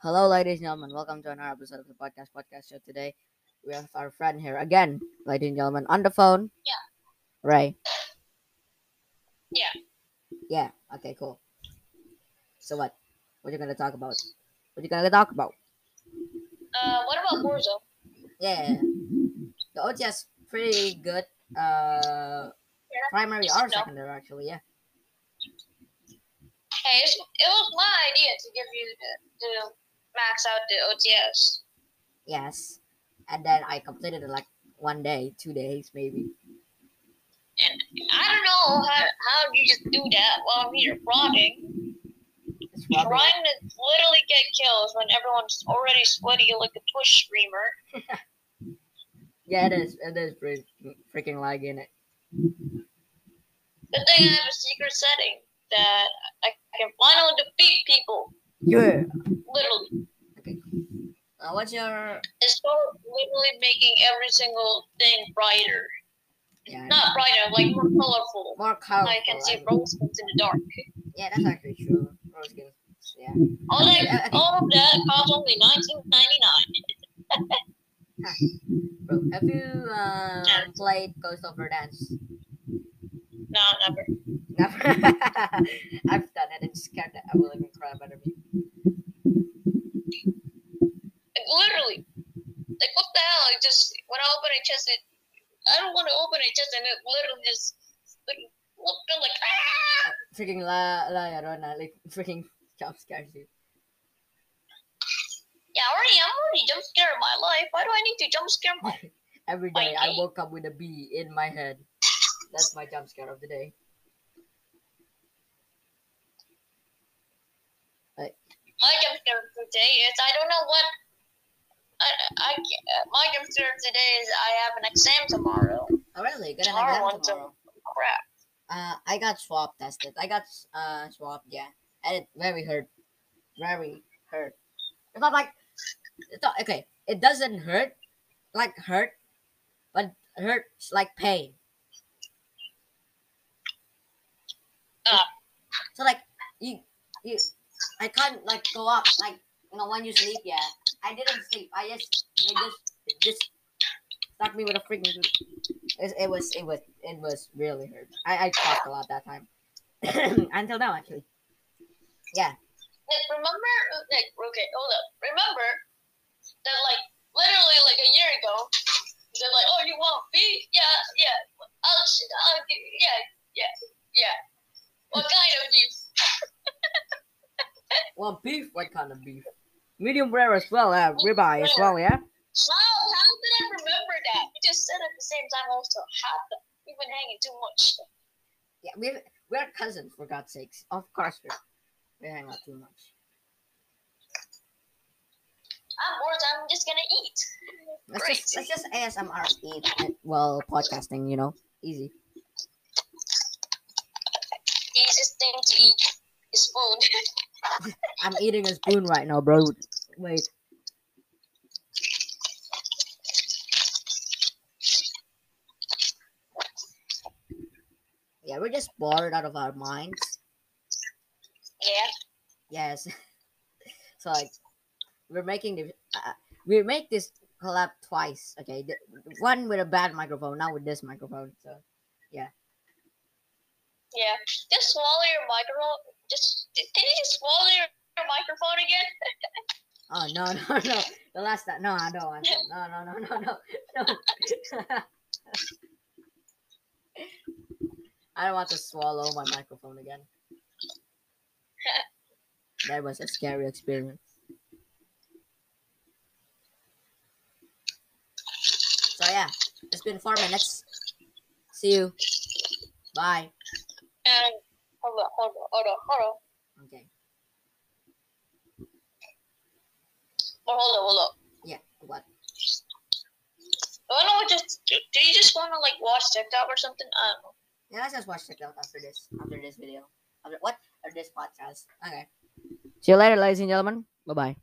Hello, ladies and gentlemen. Welcome to another episode of the podcast podcast show. Today, we have our friend here again, ladies and gentlemen, on the phone. Yeah. Ray. Yeah. Yeah. Okay. Cool. So what? What you gonna talk about? What you gonna talk about? Uh, what about Warzone? Yeah. The OTS pretty good. Uh, primary or No. secondary actually. Yeah. Hey, it's, it was my idea to give you the, to max out the OTS. Yes. And then I completed it like one day, two days maybe. I don't know how how you just do that while I'm here rotting, It's probably trying to literally get kills when everyone's already sweaty like a Twitch streamer. Yeah, it is. It is pretty freaking laggy in it. Good thing I have a secret setting that I, I can finally defeat people. Yeah. Literally, Uh, what's your? it's so literally making every single thing brighter. Yeah. Not brighter, like more colorful. More colorful. I can see and- roses in the dark. Yeah, that's actually true. Rose skins. Yeah. All Okay, I- I that, think- all of that cost only nineteen ninety nine. Bro, have you uh, Yeah. played Ghost of Dance? No, never. Never. I've done it. It's scared that I will even cry about it. Like, literally, like what the hell? It just when I open a chest, it I don't want to open a chest, and it literally just like looked like ah. Freaking La La Llorona, like freaking jump scares you. Yeah, already I'm already jump scared in my life. Why do I need to jump scare my? Every day I Okay. woke up with a bee in my head. That's my jump scare of the day. My jump scare today is I don't know what. I, I can't- my jump scare today is I have an exam tomorrow. Oh really? Gonna Tomorrow, have one them tomorrow. Crap. Uh, I got swab tested. I got uh swabbed, yeah, and it very hurt, very hurt. It's not like it's not, okay. It doesn't hurt like hurt, but hurts like pain. Ah. So like you you I can't like go up like you know when you sleep. Yeah, I didn't sleep. I just they just it just stuck me with a freaking. It, it was it was it was really hurt. I I coughed a lot that time. Until now, actually. Like, remember, like, okay, hold up. Remember that, like, literally, like, a year ago, they're like, oh, you want beef? Yeah, yeah. I'll, I'll give you, yeah, yeah, yeah. What kind of beef? Well, beef. What kind of beef? Medium rare as well. Uh, ribeye as well. Yeah. Wow, how did I remember that? We just said at the same time, also, how the, we've been hanging too much. Yeah. We we're cousins for God's sakes. Of course we we hang out too much. I'm bored, I'm just gonna eat. Let's just let's just ASMR eat and- while podcasting. You know, easy. Easiest thing to eat is food. I'm eating a spoon right now, bro. Wait. Yeah, we're just bored out of our minds. yeah. Yes. so like, we're making the uh, we make this collab twice. Okay, the, one with a bad microphone, not with this microphone. So Yeah. Just swallow your microphone. Just did did you just swallow your, your microphone again? oh no no no the last time no I don't want to no no no no no no. I don't want to swallow my microphone again. That was a scary experience. So yeah, it's been four minutes. See you. Bye. And hold on, hold on, hold on, hold on, Okay. or hold on, hold on. Yeah. What? I don't know. Just do do you just want to like watch TikTok or something? I don't know. Yeah, let's just watch TikTok after this. After this video. After what? After this podcast. Okay. See you later, ladies and gentlemen. Bye bye.